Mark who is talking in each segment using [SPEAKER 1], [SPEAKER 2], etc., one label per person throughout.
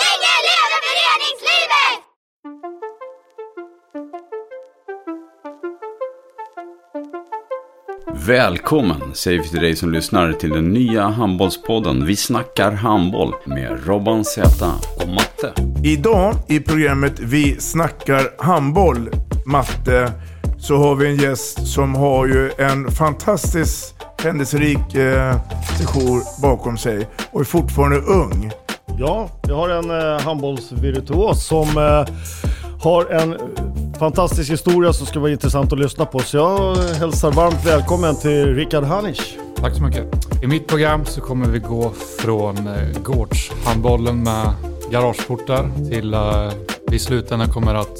[SPEAKER 1] Länge leve föreningslivet!
[SPEAKER 2] Välkommen säger vi till dig som lyssnar till den nya handbollspodden Vi snackar handboll med Robban Z och Matte.
[SPEAKER 3] Idag i programmet Vi snackar handboll, Matte, så har vi en gäst som har ju en fantastisk händelserik eh, session bakom sig och är fortfarande ung.
[SPEAKER 4] Ja, jag har en eh, handbollsvirtuos som eh, har en eh, fantastisk historia som ska vara intressant att lyssna på. Så jag hälsar varmt välkommen till Rickard Hanisch.
[SPEAKER 5] Tack så mycket. I mitt program så kommer vi gå från eh, gårdshandbollen med garageportar till eh, vi i slutändan kommer att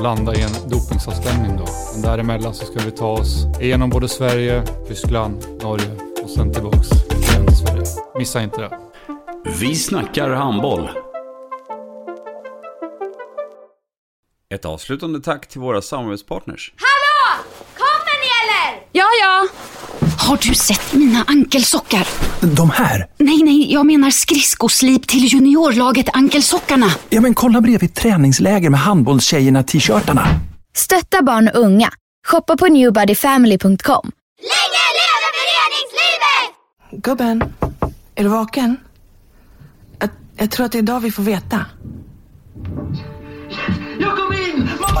[SPEAKER 5] landa i en dopingavstängning då. Men däremellan så ska vi ta oss igenom både Sverige, Tyskland, Norge och sen tillbaks igen till Sverige. Missa inte det.
[SPEAKER 2] Vi snackar handboll. Ett avslutande tack till våra samarbetspartners.
[SPEAKER 1] Hallå! Kommer ni eller?
[SPEAKER 6] Ja, ja. Har du sett mina ankelsockar?
[SPEAKER 7] De här?
[SPEAKER 6] Nej, nej, jag menar skridskoslip till juniorlaget Ankelsockarna.
[SPEAKER 7] Ja, men kolla bredvid träningsläger med handbollstjejerna-t-shirtarna.
[SPEAKER 8] Stötta barn och unga. Shoppa på newbodyfamily.com.
[SPEAKER 1] Länge leve föreningslivet!
[SPEAKER 9] Gubben, är du vaken? Jag, jag tror att det är idag vi får veta.
[SPEAKER 10] Jag kom in! Mamma,